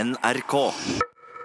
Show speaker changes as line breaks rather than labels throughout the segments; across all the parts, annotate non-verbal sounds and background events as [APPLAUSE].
NRK.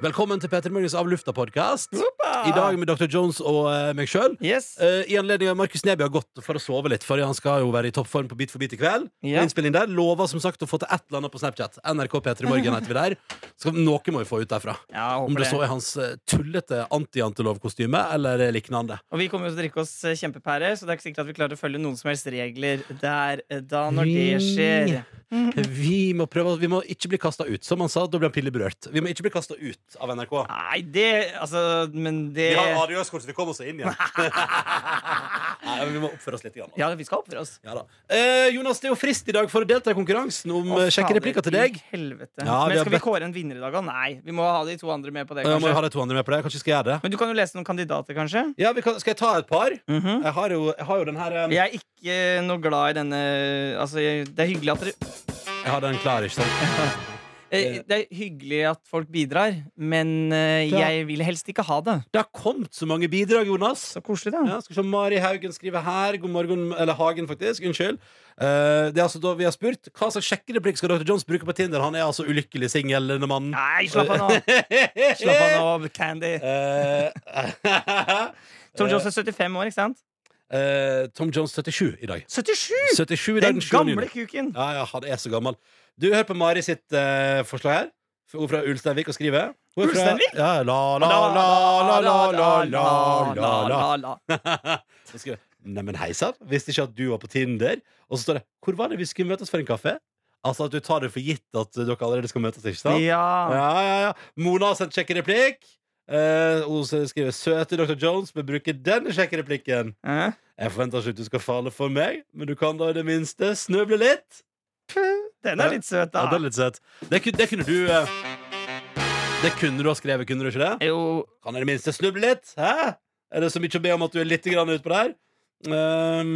Velkommen til Petter Morgens Av lufta-podkast. I dag med Dr. Jones og eh, meg sjøl.
Yes.
I anledning av Markus Neby har gått for å sove litt, for han skal jo være i toppform på Bit for bit i kveld.
Ja.
Innspilling der Lover som sagt å få til et eller annet på Snapchat. NRK Petter i morgen heter vi der. Så noe må vi få ut derfra.
Ja, jeg
Om
håper
det
det.
så er hans eh, tullete anti-jantelov-kostyme eller lignende.
Og vi kommer jo til å drikke oss eh, kjempepære, så det er ikke sikkert at vi klarer å følge noen som helst regler der eh, da når det skjer. Mhm.
Vi må, prøve, vi må ikke bli kasta ut. Som han sa, da ble han pille berørt. Vi må ikke bli kasta ut av NRK.
Nei, det Altså, men det
Vi har
Ja,
adjøs-kort, så vi kommer oss inn
[LAUGHS]
igjen. Nei, men vi må oppføre oss litt. Grann.
vi skal oppføre oss.
Ja da. Eh, Jonas, det er jo frist i dag for å delta i konkurransen om
Å,
eh, kjekke
fader
replikker til
i
deg.
Helvete.
Ja, vi
men
har
skal vi
bedt-
kåre en vinner i dag, da? Nei. Vi må ha de to andre med på det,
Jeg Eh, må jo ha
kanskje.
de to andre med på det. Kanskje jeg skal gjøre det.
Men du kan jo lese noen kandidater, kanskje?
Ja, vi kan, Skal jeg ta et par?
Mhm.
Jeg har jo, jeg har jo den her eh,
Jeg er ikke noe glad i denne Altså, jeg, det er hyggelig at dere
Jeg har den klar, ikke sant?
eh, Det er hyggelig at folk bidrar, men eh,
Ja.
jeg vil helst ikke ha det.
Det har kommet så mange bidrag, Jonas.
Så koselig, da.
Ja, skal vi se, Mari Haugen skriver her. God morgen, eller Hagen, faktisk. Unnskyld. Eh, det er altså da vi har spurt Hva slags sjekkereplikk skal Dr. Jones bruke på Tinder? Han er altså ulykkelig singel, denne mannen.
Nei, slapp av nå.
[LAUGHS]
Slapp av nå, Candy.
Eh, [LAUGHS]
Tom Jones er 75 år, ikke sant?
eh, Tom Jones 77 i dag.
77!
77 i dag
Den
den 7.
gamle
juni.
kuken.
Ja, ja, han er så gammel. Du hører på Mari sitt eh, forslag her. Hun er fra Ulsteinvik og skriver. Hun er fra-
Ulsteinvik?
Ja, la, la, la, la, la, la, la, la, la. [LAUGHS]
la.
Så skriver jeg, Neimen, hei sann, visste ikke at du var på Tinder. Og så står det Hvor var det vi skulle møtes for en kaffe? Altså at du tar det for gitt at dere allerede skal møtes, ikke sant?
Ja.
Ja, ja, ja. Mona har sendt kjekk replikk. Eh, hun skriver 'Søte Dr. Jones bør bruke denne kjekke replikken'.
Eh?
Jeg forventer ikke at du skal falle for meg, men du kan da i det minste snuble litt.
Den er litt søt,
Ja, det er
da.
litt søtt. Det, ku- det kunne du eh, Det kunne du ha skrevet, kunne du ikke det?
Jo,
Kan jeg i det minste snuble litt? Hæ? Er det så mye å be om at du er litt grann utpå der? Ehm,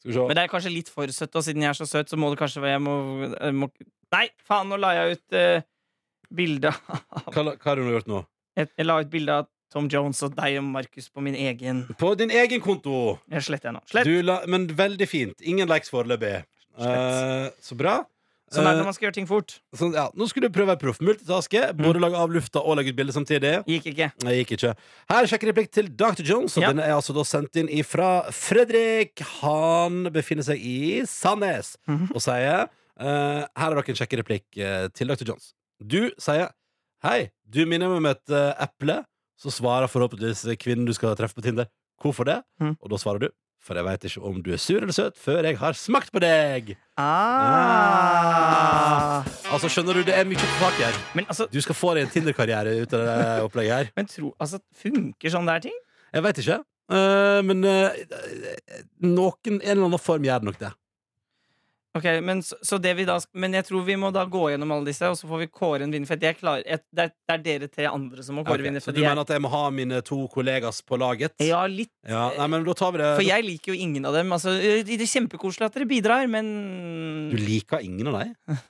skal vi se.
men det er kanskje litt for søtt, og siden jeg er så søt, så må det kanskje være jeg må, jeg må Nei, faen, nå la jeg ut uh, bilde av
Hva, hva har du nå gjort nå?
Jeg jeg la ut bilde av Tom Jones og deg og Markus på min egen.
På din egen konto.
Jeg sletter jeg nå. Slett.
Du la, men veldig fint. Ingen likes foreløpig. Eh, så bra.
Sånn er
Eh,
det når man skal gjøre ting fort.
sånn, ja. Nå skulle du prøve å være proff. Multitaske.
Mm.
Både lage av lufta og legge ut bilde samtidig.
Gikk ikke.
Nei, gikk ikke. Her sjekker replikk til Dr. Jones, og
Ja.
den er altså da sendt inn ifra Fredrik. Han befinner seg i Sandnes
Mhm.
og sier eh, Her har dere en sjekker replikk eh, til Dr. Jones. Du sier Hei, du minner meg om et eh, eple. Så svarer forhåpentligvis kvinnen du skal treffe på Tinder. Hvorfor det?
Mhm.
Og da svarer du. For jeg veit ikke om du er sur eller søt før jeg har smakt på deg.
Ah.
Altså, skjønner du, det er mye å ta tak i her.
Men altså,
Du skal få deg en Tinder-karriere ut av det opplegget her.
men tro, altså funker sånn der ting?
Jeg veit ikke. Eh, men eh, noen, en eller annen form gjør det nok det.
Ok, men, så, så det vi da, sk- men jeg tror vi må da gå gjennom alle disse, og så får vi kåre en vinner. For jeg klarer, jeg, det, er, det er dere tre andre som må kåre
Ok,
vinner.
Så
For
du
jeg,
mener at jeg må ha mine to kollegas på laget?
ja, litt,
Ja, nei, men da tar vi det
for jeg liker jo ingen av dem. Altså, ø, det er kjempekoselig at dere bidrar, men
Du liker ingen av dem?
[LAUGHS]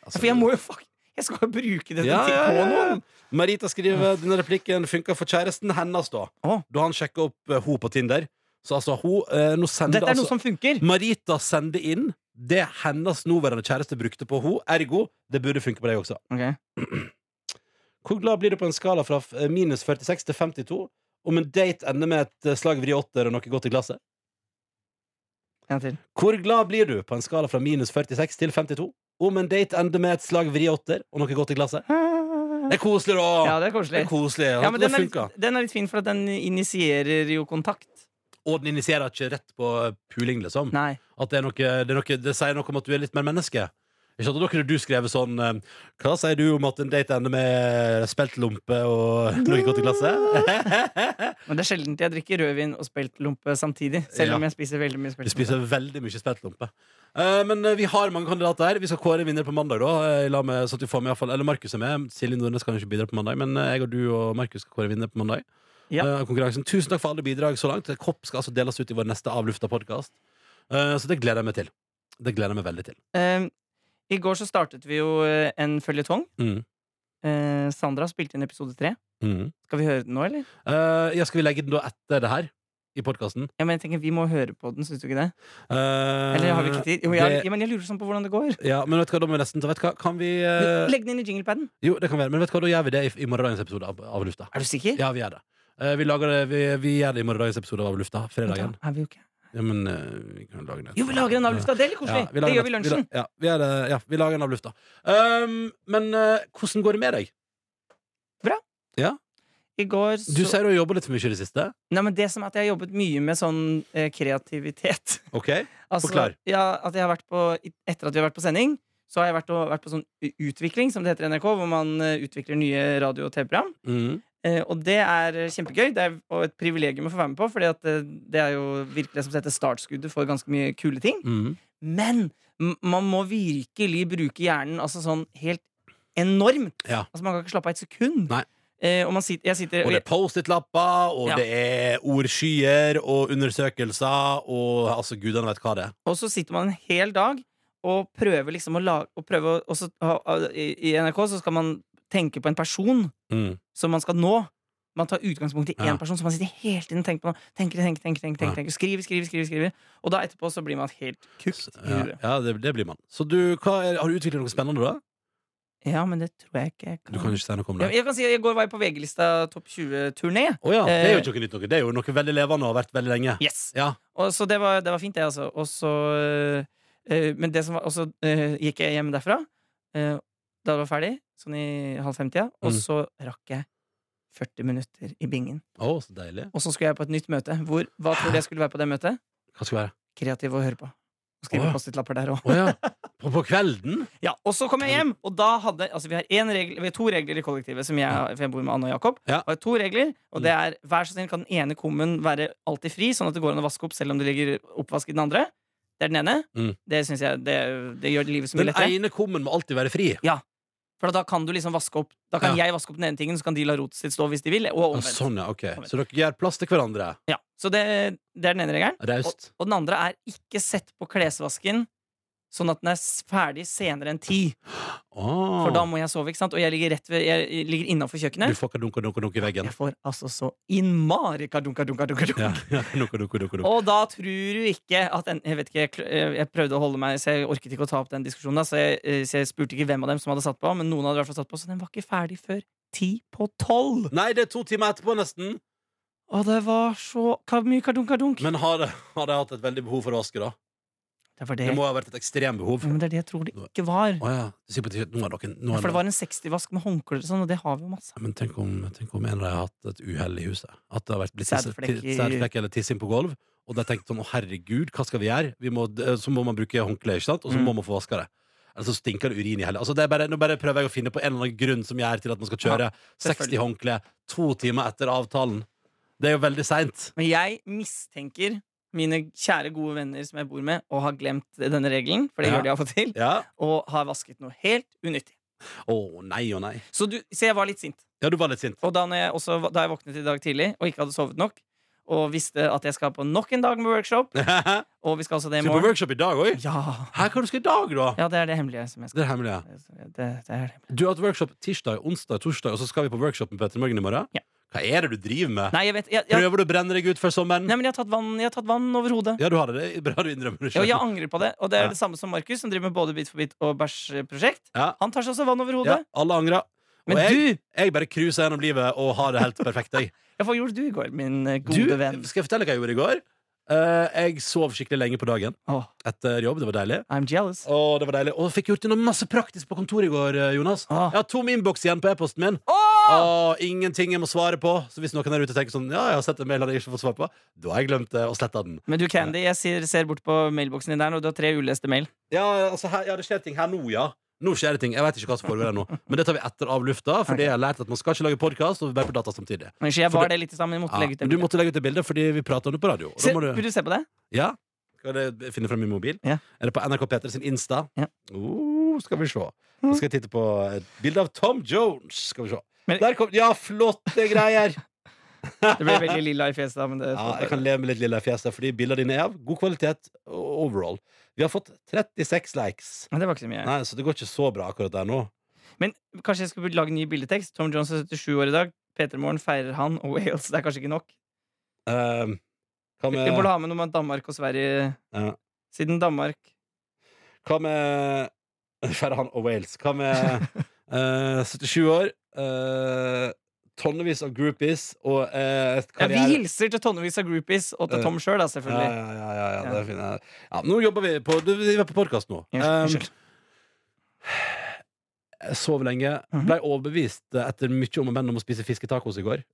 Altså,
Ja, For jeg må jo fuck, jeg skal jo bruke dette
ja,
til
ja,
på
ja, ja.
noen.
Marita skriver denne replikken funka for kjæresten hennes, da.
Å.
Da han sjekka opp uh, hun på Tinder. Så altså, hun eh, nå sender,
Dette er
altså,
noe som funker.
Marita sender inn det hennes nåværende kjæreste brukte på hun Ergo, det burde funke på deg også.
Ok.
Hvor glad blir du på en skala fra f- eh, minus 46 til 52 om en date ender med et eh, slag vri åtter og noe godt i glasset?
En til.
Hvor glad blir du på en skala fra minus 46 til 52 om en date ender med et slag vri åtter og noe godt i glasset? Det er koselig, da!
Ja, det er
det
koselig.
er koselig.
Ja, men
det
den er, litt,
funka.
den er litt fin, for at den initierer jo kontakt.
Og den initierer ikke rett på puling, liksom.
Nei.
At det, er noe, det, er noe, det sier noe om at du er litt mer menneske. Ikke sant? Og Da kunne du skrevet sånn eh, Hva sier du om at en date ender med speltlompe og [LAUGHS] noe godt i glasset?
Men det er sjelden jeg drikker rødvin og speltlompe samtidig. Selv
Ja.
om jeg spiser veldig mye
Vi
speltlompe.
spiser veldig mye speltlompe. Eh, men eh, vi har mange kandidater her. Vi skal kåre en vinner på mandag. da eh, i lag med, så at vi får med i hvert fall, Eller Markus er med. Silje Nordnes kan jo ikke bidra på mandag, men eh, jeg og du og Markus skal kåre en vinner på mandag.
Ja.
Eh, av konkurransen Tusen takk for alle bidrag så langt. Kopp skal altså deles ut i vår neste Avlufta-podkast. Eh, så det gleder jeg meg til. Det gleder jeg meg veldig til.
Eh, I går så startet vi jo eh, en føljetong.
Mm.
Eh, Sandra spilte inn episode tre.
Mm.
Skal vi høre den nå, eller?
Eh, ja, skal vi legge den da etter det her? i Eh, podkasten.
Ja, men jeg tenker Vi må høre på den, syns du ikke det? Eller har vi
Eh,
ikke tid? Jo, jeg, ja, men jeg lurer sånn på hvordan det går.
Ja, men vet du hva, da må vi nesten vet du hva, Kan vi eh,
Legg den inn i jinglepaden.
Jo, det kan vi gjøre, men vet du hva, da gjør vi det i, i morgendagens episode av, av Lufta.
Er du sikker?
Ja, vi gjør det. Eh, vi, lager det vi, vi gjør det i morgendagens episode av Lufta. Fredagen.
Er vi jo ikke
Ja, men eh, vi kan lage den.
Jo, vi lager en av lufta. Det er litt koselig.
Ja, vi lager
det gjør
den-
vi i lunsjen.
la- Ja, vi gjør det- ja, vi lager den av lufta. Um, men eh, hvordan går det med deg?
I går
Du
så
sier du har jobba litt for mye i det siste.
Nei, men det som er at jeg har jobbet mye med sånn eh, kreativitet.
Ok?
Altså,
Forklar.
Ja, at jeg har vært på, etter at vi har vært på sending, så har jeg vært, og, vært på sånn utvikling, som det heter i NRK, hvor man eh, utvikler nye radio- og TV-program.
Mm.
Eh, og det er kjempegøy, det er, og et privilegium å få være med på, for det er jo virkelig det som setter startskuddet for ganske mye kule ting.
Mm.
Men m- man må virkelig bruke hjernen altså sånn helt enormt.
Ja.
Altså Man kan ikke slappe av et sekund.
Nei.
Eh, og man sitter, jeg sitter
Og det er Post-It-lapper, og
Ja.
det er ordskyer og undersøkelser og altså, gudene vet hva det er.
Og så sitter man en hel dag og prøver liksom å lage og prøver å, og så, ha- ha- i, I NRK så skal man tenke på en person
Mm.
som man skal nå. Man tar utgangspunkt i én
Ja.
person, så man sitter hele tiden og tenker på noe. Tenker, tenker, tenker, tenker,
Ja.
tenker, tenker. Skriver, skriver, skriver, skriver. Og da etterpå så blir man helt kukt i
Ja,
huet.
ja det, det blir man. Så du, hva er, har du utviklet noe spennende, da?
Ja, men det tror jeg ikke jeg
Du kan jo ikke si noe om
Mm. Ja,
det.
jeg kan si at I går var jeg på VG-lista Topp 20-turné.
Å ja, det
Eh,
er jo ikke noe nytt noe. Det er jo noe veldig levende og har vært veldig lenge.
Yes
Ja.
Og så det var, det var fint, det, altså. Og så eh, Men det som var Og så eh, gikk jeg hjem derfra. eh, da det var ferdig, sånn i halv fem-tida. Og
Mm.
så rakk jeg 40 minutter i bingen.
Å, så deilig.
Og så skulle jeg på et nytt møte. Hvor, hva tror du jeg skulle være på det møtet?
Hva skal det være?
Kreativ å høre på. Og Skrive
Åh.
Post-It-lapper der òg.
Å
[LAUGHS]
ja. På, på kvelden?
Ja, og så kom jeg hjem, og da hadde Altså, vi har, en regel, vi har to regler i kollektivet, som jeg, for jeg bor med Anne og Jakob.
Ja. Mm.
Og jeg har to regler, og det er vær så snill kan den ene kummen være alltid fri, sånn at det går an å vaske opp selv om det ligger oppvask i den andre. Det er den ene.
Mm.
Det synes jeg det, det gjør livet så mye
Den
lettere.
ene kummen må alltid være fri.
For da kan du liksom vaske opp Da kan
Ja.
jeg vaske opp den ene tingen, så kan de la rotet sitt stå hvis de vil. Og
Ja,
omvendt.
sånn, ja, ok
Omvendt.
Så dere gjør plass til hverandre.
Ja, så det, det er den ene regelen.
Raust.
Og den andre er ikke sett på klesvasken sånn at den er s- ferdig senere enn ti.
Å.
For da må jeg sove, ikke sant? Og jeg ligger, rett ved- jeg ligger innafor kjøkkenet.
Du får ikke dunka, dunka, dunka i veggen.
Jeg får altså så innmari kadunka, dunka, dunka,
[LAUGHS]
dunka.
Ja, ja, dunka, dunka, dunka, dunka.
Og da tror du ikke at en, Jeg vet ikke, jeg, kl- eh, jeg prøvde å holde meg, så jeg orket ikke å ta opp den diskusjonen. da, Så jeg, eh, så jeg spurte ikke hvem av dem som hadde satt på, men noen hadde i hvert fall satt på, så den var ikke ferdig før ti på tolv.
Nei, det er to timer etterpå, nesten.
Og det var så ka- mye kadunka, dunk.
Men har, har de hatt et veldig behov for å vaske, da?
Det var
Det
det.
må ha vært et ekstrembehov.
Ja, Men det er det jeg tror det ikke var.
Å ja. Du sier på t-shirt Nå er noen nå er
For det var en 60-vask med håndklær og sånn, og det har vi jo masse.
Ja, Men tenk om, tenk om en av dem har hatt et uhell i huset. At det har vært blitt tisse-
Sædflekker.
ti- sædflekker eller tissing på gulv. Og de har tenkt sånn 'Å, herregud, hva skal vi gjøre?' Vi må, d- så må man bruke håndkle, ikke sant? Og så
Mm.
må man få vaska det. Eller så stinker det urin i hele altså, det er bare, Nå bare prøver jeg å finne på en eller annen grunn som gjør til at man skal kjøre 60 håndkle to timer etter avtalen. Det er jo veldig seint.
Men jeg mistenker mine kjære, gode venner som jeg bor med, å ha glemt denne regelen, for det
Ja.
gjør de av og til,
Ja.
og har vasket noe helt unyttig.
Å nei, å nei.
Så, du, så jeg var litt sint.
Ja, du var litt sint. [LAUGHS]
Og da, når jeg også, da jeg våknet i dag tidlig og ikke hadde sovet nok, og visste at jeg skal på nok en dag med workshop,
Skal
og vi skal også det i
vi på
morgen
workshop i dag òg?
Ja,
Hæ, hva du skal i dag, da?
ja det er det hemmelige som jeg skal
Det er hemmelig, ja.
det, det er det hemmelige.
Du har hatt workshop tirsdag, onsdag, torsdag, og så skal vi på workshop med Petter Morgen i morgen?
Ja.
Hva er det du driver med?
Nei, jeg vet jeg, jeg,
Prøver du å brenne deg ut før sommeren?
Nei, men jeg har tatt vann, jeg har tatt vann over hodet.
Ja, du har det. det. er Bra du innrømmer det
Ja,
selv.
og jeg angrer på det. Og det er
Ja.
det samme som Markus, som driver med både Bit for bit og bæsjprosjekt.
Ja.
Han tar seg også vann over
Ja,
hodet.
alle angrer. Og
Men
jeg,
du!
jeg bare cruiser gjennom livet og har det helt perfekt. Jeg.
Ja, hva gjorde du i går, min eh,
Du,
[LAUGHS] gode venn?
skal jeg fortelle hva jeg gjorde i går? Eh, jeg sov skikkelig lenge på dagen
Åh,
etter jobb. Det var deilig.
I'm jealous. Åh,
Og det var deilig Og fikk gjort noe masse praktisk på kontoret i går, eh, Jonas.
Ah.
Jeg har tom innboks igjen på e-posten min. Og ingenting jeg må svare på. Så hvis noen der ute tenker sånn Ja, jeg har sett en mail jeg ikke får svar på, da har jeg glemt eh, å slette den.
Men du, Candy, jeg ser, ser bort på mailboksen din der, og du har tre uleste mail.
Ja, altså, her, ja, det skjer ting her nå, ja. Nå skjer det ting. Jeg vet ikke hva som foregår her nå. Men det tar vi etter av lufta, fordi
Ok.
jeg har lært at man skal ikke lage podkast og være på data samtidig.
Men ikke, Jeg
For
var
det-
det litt i sammen, jeg måtte
Ja,
legge ut
men
det.
du måtte legge ut det bildet fordi vi prater om det på radio. Og
Se,
da må du,
Vil du se på det?
ja? Skal jeg finne frem min mobil?
Ja.
Er det på NRK Peter sin Insta?
Ja.
Oh, skal vi se. Nå skal jeg titte på et bilde av Tom Jones. Skal vi se.
Men-
Der kom Ja, flotte greier!
[LAUGHS] Det ble veldig lilla i fjeset. da, Men
[LAUGHS]
det,
Ja, jeg kan leve med litt lilla i fjeset, fordi bildene dine er av god kvalitet overall. Vi har fått 36 likes.
Men det var ikke så mye.
Nei, Så det går ikke så bra akkurat der nå.
Men kanskje jeg skulle lage ny bildetekst? Tom Jones er 77 år i dag. Peter Morn feirer han og Wales. Det er kanskje ikke nok?
Ehm, Hva
Vi
med,
burde ha med noe med Danmark og Sverige.
Ja.
Siden Danmark
hva med [LAUGHS] Skjære han og Wales. Hva med eh, 77 år, eh, tonnevis av groupies og eh, et
ja, Vi
karriere...
hilser til tonnevis av groupies, og til
Eh,
Tom sjøl, da,
Ja,
selvfølgelig.
ja, ja, ja, ja,
Ja.
det er fint. ja. Ja, nå jobber vi på du, Vi er på podkast nå.
Ja,
Um,
unnskyld.
jeg sov lenge.
Mhm.
Ble overbevist eh, etter mye om og men om å spise fisketacos i går.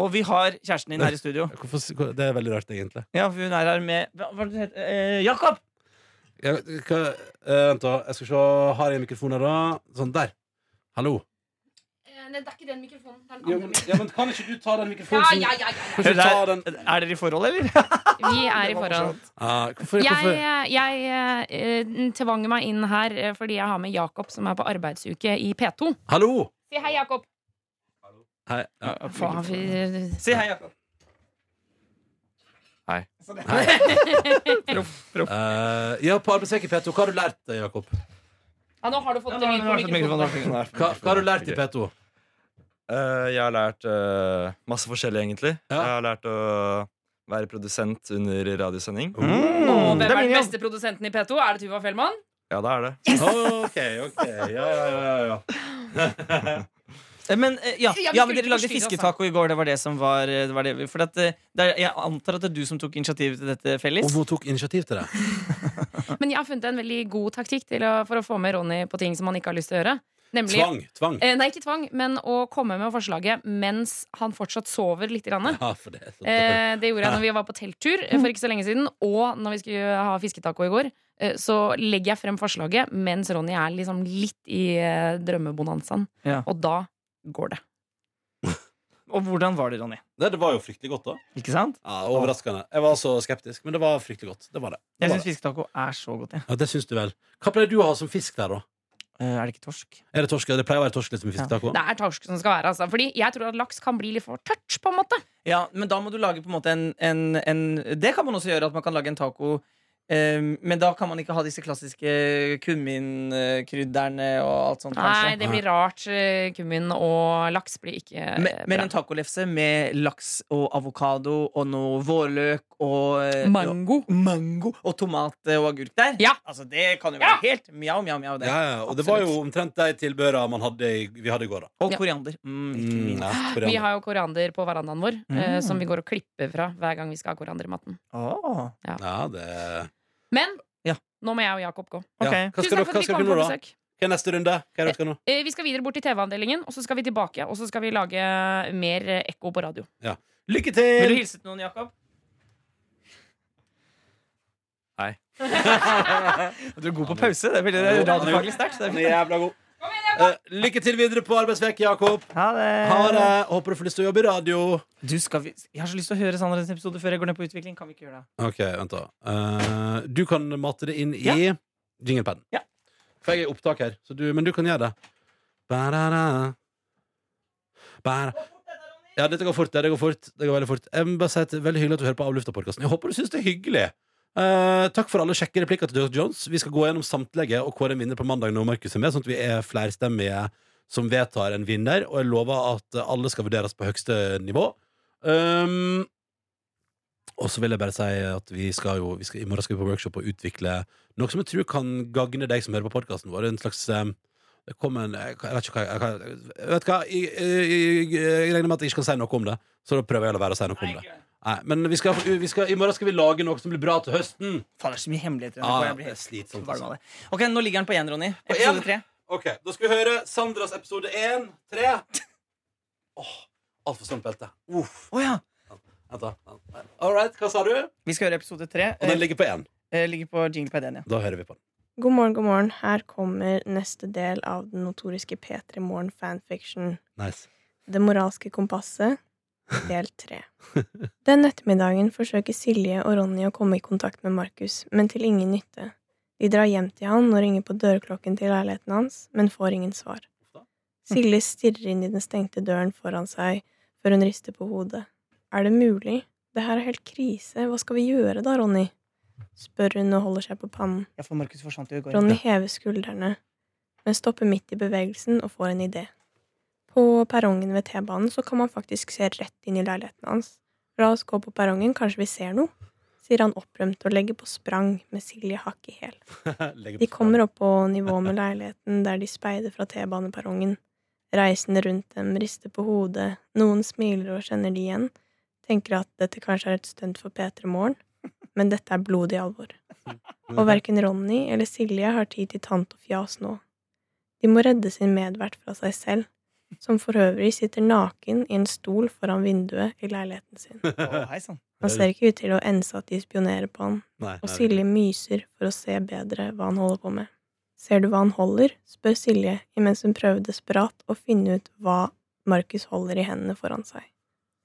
Og vi har kjæresten din her
[LAUGHS]
i studio.
Hvorfor, s- hvor- det er veldig rart, egentlig.
Ja, for Hun er her med Hva hva er det du heter eh, Jakob!
Jeg, hva- eh, vent, da. Jeg skal se. Har jeg en mikrofon her, da? Sånn. Der. Hallo.
Eh, Nei, det er ikke den mikrofonen. Det er den
Ja,
andre
men,
mikrofonen.
ja, men kan ikke du ta den mikrofonen?
Ja,
som-
ja, ja, ja, ja.
Kan ikke du ta
Er
den
dere i forhold, eller? [LAUGHS]
Vi er i forhold.
ah, hvorfor,
Jeg,
hvorfor?
eh, jeg eh, tvang meg inn her eh, fordi jeg har med Jakob, som er på arbeidsuke i P2.
Hallo!
Si hei, Jakob.
Hei. Ja.
Faen, vi,
Si hei, Jakob.
Hei.
Sånn, ja.
Hei. Eh, ja, på arbeidsuke P2, hva har du lært deg, Jakob?
Ja, nå har du fått
Ja,
en
nå har
lyd
hun
på
vært på mikrofonen,
mikrofonen.
vært på mikrofonen.
Hva, hva har du lært i
Ok.
P2?
Eh, jeg har lært eh, masse forskjellig, egentlig.
Ja.
Jeg har lært å være produsent under radiosending.
Og
Det
hvem
er
er
min
den
jobb.
beste produsenten i P2? Er det Tuva Fellmann?
Ja, det er det.
Ok, ok. Ja, ja, ja. ja.
Men, eh, ja.
Ja, vi
ja,
skulle ikke
men dere lagde
forstyrre oss,
fisketaco i går. Det var det som var, eh, det var det. For at, eh, det er, jeg antar at det er du som tok initiativet til dette,
Og
Fellis.
hun tok initiativ til det.
men jeg har funnet en veldig god taktikk til å, for å få med Ronny på ting som han ikke har lyst til å gjøre. Nemlig
Tvang. tvang
Eh, Nei, ikke tvang, men å komme med forslaget mens han fortsatt sover litt.
Eh,
Grann.
Ja, for det er så dårlig.
Eh, det gjorde jeg når vi var på telttur eh, for ikke så lenge siden. Og når vi skulle ha fisketaco i går, eh, så legger jeg frem forslaget mens Ronny er liksom litt i eh, drømmebonanzaen.
Ja.
Og da går det.
Og hvordan var det, Ronny?
Nei, det var jo fryktelig godt, da.
Ikke sant?
Ja, Overraskende. Jeg var så skeptisk, men det var fryktelig godt. Det var det.
Jeg
var
syns fisketaco er så godt. jeg.
Ja, det syns du vel. Hva pleier du å ha som fisk der, da?
Eh, Er det ikke torsk?
Er det torsk? Det pleier å være torsk liksom, litt med fisketaco.
Det er torsk som skal være. Altså. Fordi jeg tror at laks kan bli litt for tørt, på en måte.
Ja, men da må du lage på en måte en, en, en Det kan man også gjøre, at man kan lage en taco. eh, men da kan man ikke ha disse klassiske kumminkrydderne og alt sånt.
Nei,
kanskje.
det blir rart. eh, Kummin og laks blir ikke eh,
Men, men en tacolefse med laks og avokado og noe vårløk og eh,
bra. Mango.
og mango og tomat eh, og agurk der.
Ja.
Altså, det kan jo være helt mjau, mjau, mjau. det.
Ja, ja, og det var jo omtrent de tilbøra man hadde i, vi hadde i går, da.
Og
Ja.
koriander. Mm, ikke
Mm,
minst.
ja, koriander.
Vi har jo koriander på verandaen vår, eh,
Mm.
som vi går og klipper fra hver gang vi skal ha koriander i maten.
Åh.
ja, det...
Men
Ja.
nå må jeg og Jakob gå.
Ok.
ja. Hva
Tusen
skal,
takk
dere-
for
hva
at vi
skal
kom
dere nå,
på
da?
besøk.
Hva er neste runde? Hva er det dere skal nå?
Eh, Vi skal videre bort til TV-avdelingen, og så skal vi tilbake. Og så skal vi lage mer eh, ekko på radio.
[LAUGHS] Lykke
Vil du
til!
hilse til noen, Jakob?
Hei.
[LAUGHS] du er god på pause. Det er veldig det er radiofaglig sterkt. så
[LAUGHS]
det er
Han
fint.
er jævla god. Eh, lykke til videre på arbeidsveke, Jakob.
Ha det.
Ha det. Håper du får lyst til å jobbe i radio.
Du skal vi... Jeg har så lyst til å høre Sandra sin episode før jeg går ned på utvikling. Kan vi ikke gjøre det?
Ok, vent da Eh, Du kan mate det inn i jinglepaden
Ja.
For jeg er i opptak her så du, Men du kan gjøre det Ba-da-da. Ba-da. Ja, dette går fort, det, det går fort Det går veldig fort Jeg må bare si at det er veldig hyggelig at du hører på Avlufta-podcasten Jeg håper du synes det er hyggelig Eh, takk for alle kjekke replikker til Dirk Jones Vi skal gå gjennom samtlegge og kåre en vinner på mandag Når Markus er med, sånn at vi er flerstemmige Som vedtar en vinner Og jeg lover at alle skal vurderes på høyeste nivå Øhm og så vil jeg bare si at vi skal jo vi skal, I morgen skal vi på workshop og utvikle noe som jeg tror kan gagne deg som hører på podkasten vår. En slags eh, det kom en, jeg, kan- jeg vet ikke hva, jeg, kan- jeg, vet hva jeg, jeg, jeg, jeg regner med at jeg ikke kan si noe om det, så da prøver jeg å la være å si noe om det. Nei, men vi skal, vi skal, i morgen skal vi lage noe som blir bra til høsten.
Faen, det er så mye hemmeligheter. i
Ja,
NRK,
Ah, ja,
jeg blir
det er
helt
slitsomt,
varm av det. Ok, Nå ligger den på én, Ronny.
På
Episode
én?
tre.
Ok, Da skal vi høre Sandras episode én, tre. Åh, Altfor stramt belte. Uff.
Å ja.
Vent, da. All right, hva sa du? Og
Vi skal høre episode tre.
den ligger på én.
Eh, ligger på jinglepad 1, ja.
Da hører vi på den.
God morgen, god morgen. Her kommer neste del av den notoriske P3 Morgen fanfiction.
Nice.
Det moralske kompasset, del tre. Den ettermiddagen forsøker Silje og Ronny å komme i kontakt med Markus, men til ingen nytte. De drar hjem til han og ringer på dørklokken til leiligheten hans, men får ingen svar. Silje stirrer inn i den stengte døren foran seg, før hun rister på hodet. Er det mulig? Det her er helt krise, hva skal vi gjøre da, Ronny? spør hun og holder seg på pannen.
Ja, for Markus forsvant jo i går.
Ronny hever skuldrene, men stopper midt i bevegelsen og får en idé. På perrongen ved T-banen så kan man faktisk se rett inn i leiligheten hans, La oss gå på perrongen, kanskje vi ser noe, sier han opprømt og legger på sprang med Silje hakk i hæl. De kommer opp på nivå med leiligheten der de speider fra T-baneperrongen. Reisende rundt dem rister på hodet, noen smiler og kjenner de igjen, tenker at dette kanskje er et stunt for P3 Morgen, men dette er blodig alvor.
Mhm.
Og verken Ronny eller Silje har tid til tant og fjas nå. De må redde sin medvert fra seg selv, som for øvrig sitter naken i en stol foran vinduet i leiligheten sin.
Å, hei sann.
Han ser ikke ut til å ense at de spionerer på han,
Nei,
og
nei,
Silje myser for å se bedre hva han holder på med. Ser du hva han holder? spør Silje imens hun prøver desperat å finne ut hva Markus holder i hendene foran seg.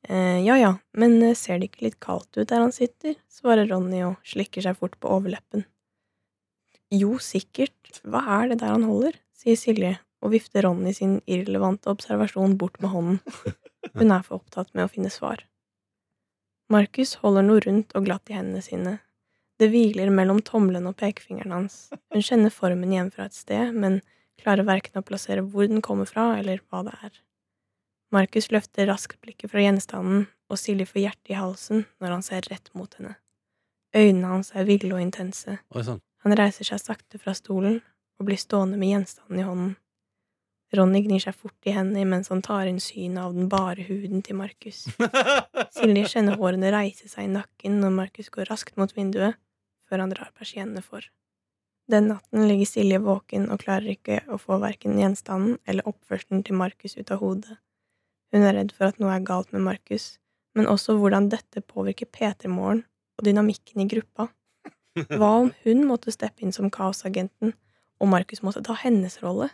Eh, ja ja, men eh, ser det ikke litt kaldt ut der han sitter? svarer Ronny og slikker seg fort på overleppen. Jo, sikkert, hva er det der han holder? sier Silje og vifter Ronny sin irrelevante observasjon bort med hånden. Hun er for opptatt med å finne svar. Markus holder noe rundt og glatt i hendene sine. Det hviler mellom tommelen og pekefingeren hans. Hun kjenner formen igjen fra et sted, men klarer verken å plassere hvor den kommer fra, eller hva det er. Markus løfter raskt blikket fra gjenstanden, og Silje får hjertet i halsen når han ser rett mot henne. Øynene hans er ville og intense.
Oi sånn. sann.
Han reiser seg sakte fra stolen og blir stående med gjenstanden i hånden. Ronny gnir seg fort i hendene mens han tar inn synet av den bare huden til Markus. Silje kjenner hårene reise seg i nakken når Markus går raskt mot vinduet, før han drar persiennene for. Den natten ligger Silje våken og klarer ikke å få verken gjenstanden eller oppførselen til Markus ut av hodet. Hun er redd for at noe er galt med Markus, men også hvordan dette påvirker P3-morgen og dynamikken i gruppa. Hva om hun måtte steppe inn som kaosagenten, og Markus måtte ta hennes rolle?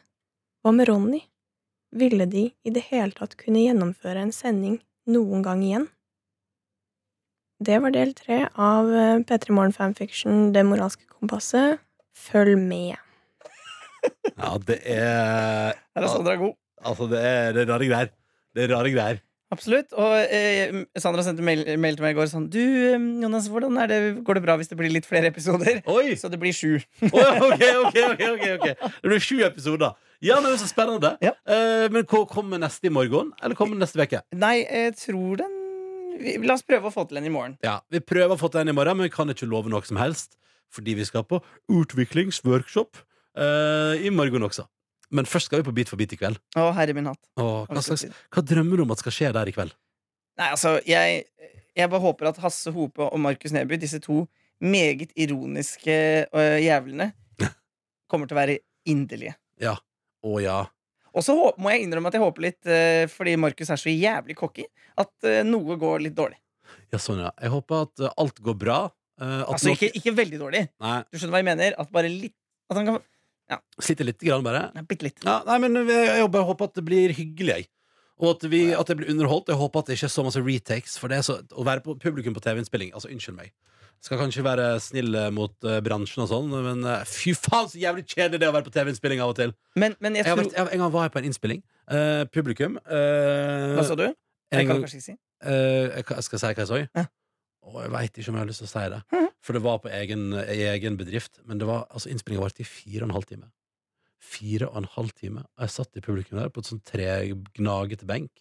Hva med Ronny? Ville de i det hele tatt kunne gjennomføre en sending noen gang igjen? Det var del tre av eh, P3 Morgen Fanfiction Det moralske kompasset. Følg med.
Ja, det er
Her er Sandra god.
Altså, det er, det er rare greier. Det er rare greier.
Absolutt. Og eh, Sandra sendte mail, mail til meg i går sånn Du, eh, Jonas, hvordan er det, går det bra hvis det blir litt flere episoder?
Oi!
Så det blir sju.
Å, ja, ok, ok, ok, ok, ok Det blir sju episoder. Ja, men Så spennende.
Ja.
Eh, men hva kommer neste i morgen? Eller kommer den neste uke?
Nei, jeg tror den vi, La oss prøve å få til en i morgen.
Ja, vi prøver å få til en i morgen, men vi kan ikke love noe som helst. Fordi vi skal på utviklingsworkshop eh, i morgen også. Men først skal vi på Bit for bit i kveld.
Å, herre min hatt.
Åh, hva,
Har vi
slags,
ikke tid?
hva drømmer du om at skal skje der i kveld?
Nei, altså, jeg, jeg bare håper at Hasse Hope og Markus Neby, disse to meget ironiske øh, jævlene, kommer til å være inderlige.
Ja. Å ja.
Og så hå- må jeg innrømme at jeg håper litt, øh, fordi Markus er så jævlig cocky, at øh, noe går litt dårlig.
ja. Sånn, ja. Jeg håper at eh, alt går bra. eh, at
Altså
noe-
ikke, ikke veldig dårlig.
Nei,
Du skjønner hva jeg mener? At bare litt At han kan
sitter lite grann, bare.
Nei, bitte litt.
Ja, nei, men jeg, jeg bare håper at det blir hyggelig, jeg. Og at, vi, at jeg blir underholdt. Jeg håper at det ikke er så masse retakes. For det er så, å være på publikum på TV-innspilling Altså, unnskyld meg. Skal kanskje være snill eh, mot eh, bransjen og sånn, men eh, fy faen så jævlig kjedelig det er å være på TV-innspilling av og til.
Men, men jeg
Jeg har
tror
vært, jeg, en gang var jeg på en innspilling. eh, publikum. eh,
Hva sa du? Det
en
kan
gang,
du kanskje ikke si.
eh, jeg kan- skal jeg si hva jeg så?
Ja.
Og jeg veit ikke om jeg har lyst til å si det.
Mhm.
For det var på egen, i egen bedrift. Men det var, altså, innspillinga varte i fire og en halv time. Fire og en halv time. Og jeg satt i publikum der på et sånn tregnagete benk.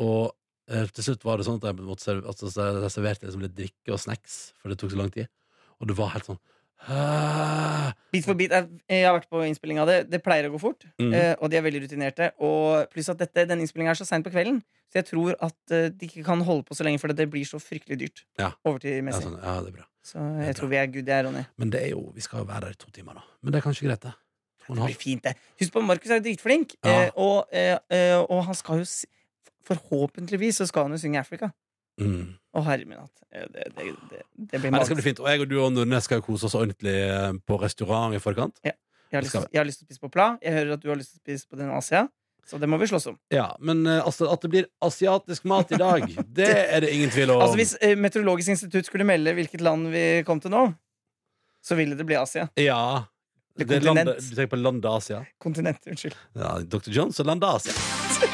Og eh, til slutt var det sånn at jeg, måtte serve, altså, så jeg serverte liksom litt drikke og snacks, for det tok så lang tid. Og det var helt sånn «Hæ?»
Bit for bit. Jeg, jeg har vært på innspilling av det. Det pleier å gå fort.
Mhm.
eh, og de er veldig rutinerte. Og pluss at dette, denne innspillinga er så seint på kvelden, så jeg tror at eh, de ikke kan holde på så lenge, for det blir så fryktelig dyrt.
Ja. Ja,
Overtidmessig.
sånn, ja, det er bra.
Så jeg
Det er bra.
tror vi er good, jeg, Ronny.
Men det er jo, vi skal jo være der i to timer, da. Men det er kanskje greit, det. To og en
Det
halv.
blir fint, det. Husk på, Markus er jo dritflink,
Ja.
eh, og, eh, eh, og han skal jo s- Forhåpentligvis så skal han jo synge Africa.
Mm.
Å, herre min hatt. Eh, Det, det, det, det blir
Nei, det skal bli
magisk.
fint. Og jeg og du og Nordnes skal jo kose oss ordentlig eh, på restaurant i forkant.
Jeg har,
det
lyst,
skal
jeg har lyst til å spise på Pla. Jeg hører at du har lyst til å spise på den Asia, så det må vi slåss om.
Ja, Men eh, altså, at det blir asiatisk mat i [LAUGHS] dag, det er det ingen tvil om.
Altså Hvis eh, Meteorologisk institutt skulle melde hvilket land vi kom til nå, så ville det bli Asia.
Ja.
Det
Det er
kontinent.
landet, du tenker på landet Asia?
Kontinent, unnskyld.
Ja, Dr. Jones og landet Asia. [LAUGHS]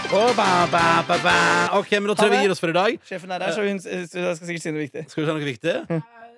Å, ba, ba, ba, ba. Ok, men da tror jeg vi gir oss for i dag.
Sjefen er her, så hun eh, så jeg skal sikkert si noe viktig.
Mm.
Skal vi ta noe viktig?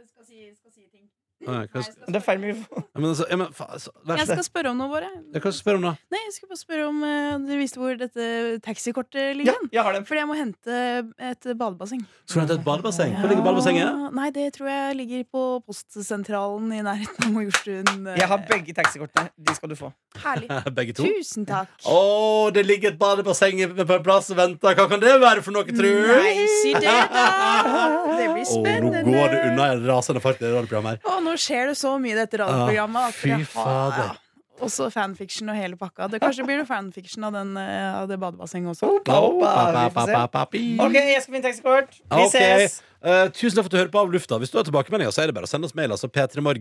Skal si, skal si ting.
Nei, hva, ja,
Det er feil mikrofon.
men altså, ja, men, fa, altså, vær
Jeg
så
skal spørre om noe, bare.
Jeg kan spørre om det.
Nei, jeg skulle bare spørre om eh, Dere visste hvor dette taxikortet
Ja,
ligger hen?
jeg har den.
Fordi jeg må hente et badebasseng.
Skal du hente et badebasseng? Hvor
Ja.
ligger badebassenget?
Nei, det tror jeg ligger på postsentralen i nærheten av Majorstuen. eh,
Jeg har begge taxikortene. De skal du få.
[LAUGHS]
Herlig.
Begge to.
Tusen takk.
Å, det ligger et badebasseng på en plass og venter. Hva kan det være for noe, tru?
Nei, si
[LAUGHS]
det, da! Det blir
Å, nå
spennende.
går det unna i en rasende fart i det radioprogrammet her.
Å, nå skjer det så mye i dette radioprogrammet.
Ah,
at
fy
jeg har-
fader.
Også fanfiction og hele pakka. Det, kanskje blir det fanfiction av, den, eh, av det badebassenget også.
Ba, ba, ba, ba, ba, bi.
Ok, jeg skal finne taxikort. Vi
Ok.
ses.
Eh, tusen takk for at du hører på Av lufta. Hvis du har tilbakemeldinger, så er det bare å sende oss mail. Altså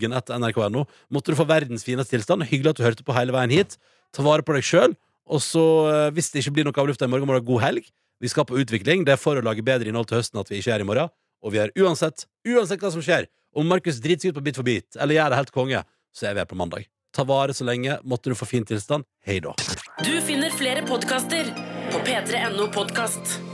p3morgen.nrk.no. Måtte du få verdens fineste tilstand. Hyggelig at du hørte på hele veien hit. Ta vare på deg sjøl. Og så, eh, hvis det ikke blir noe Av lufta i morgen, må du ha god helg. Vi skal på utvikling. Det er for å lage bedre innhold til høsten at vi ikke er i morgen. Og vi er uansett, uansett hva som skjer, om Markus driter seg ut på Bit for bit, eller gjør det helt konge, så er vi her på mandag. Ta vare så lenge. Måtte du få fin tilstand. Hei da.
Du finner flere podkaster på p3.no podkast.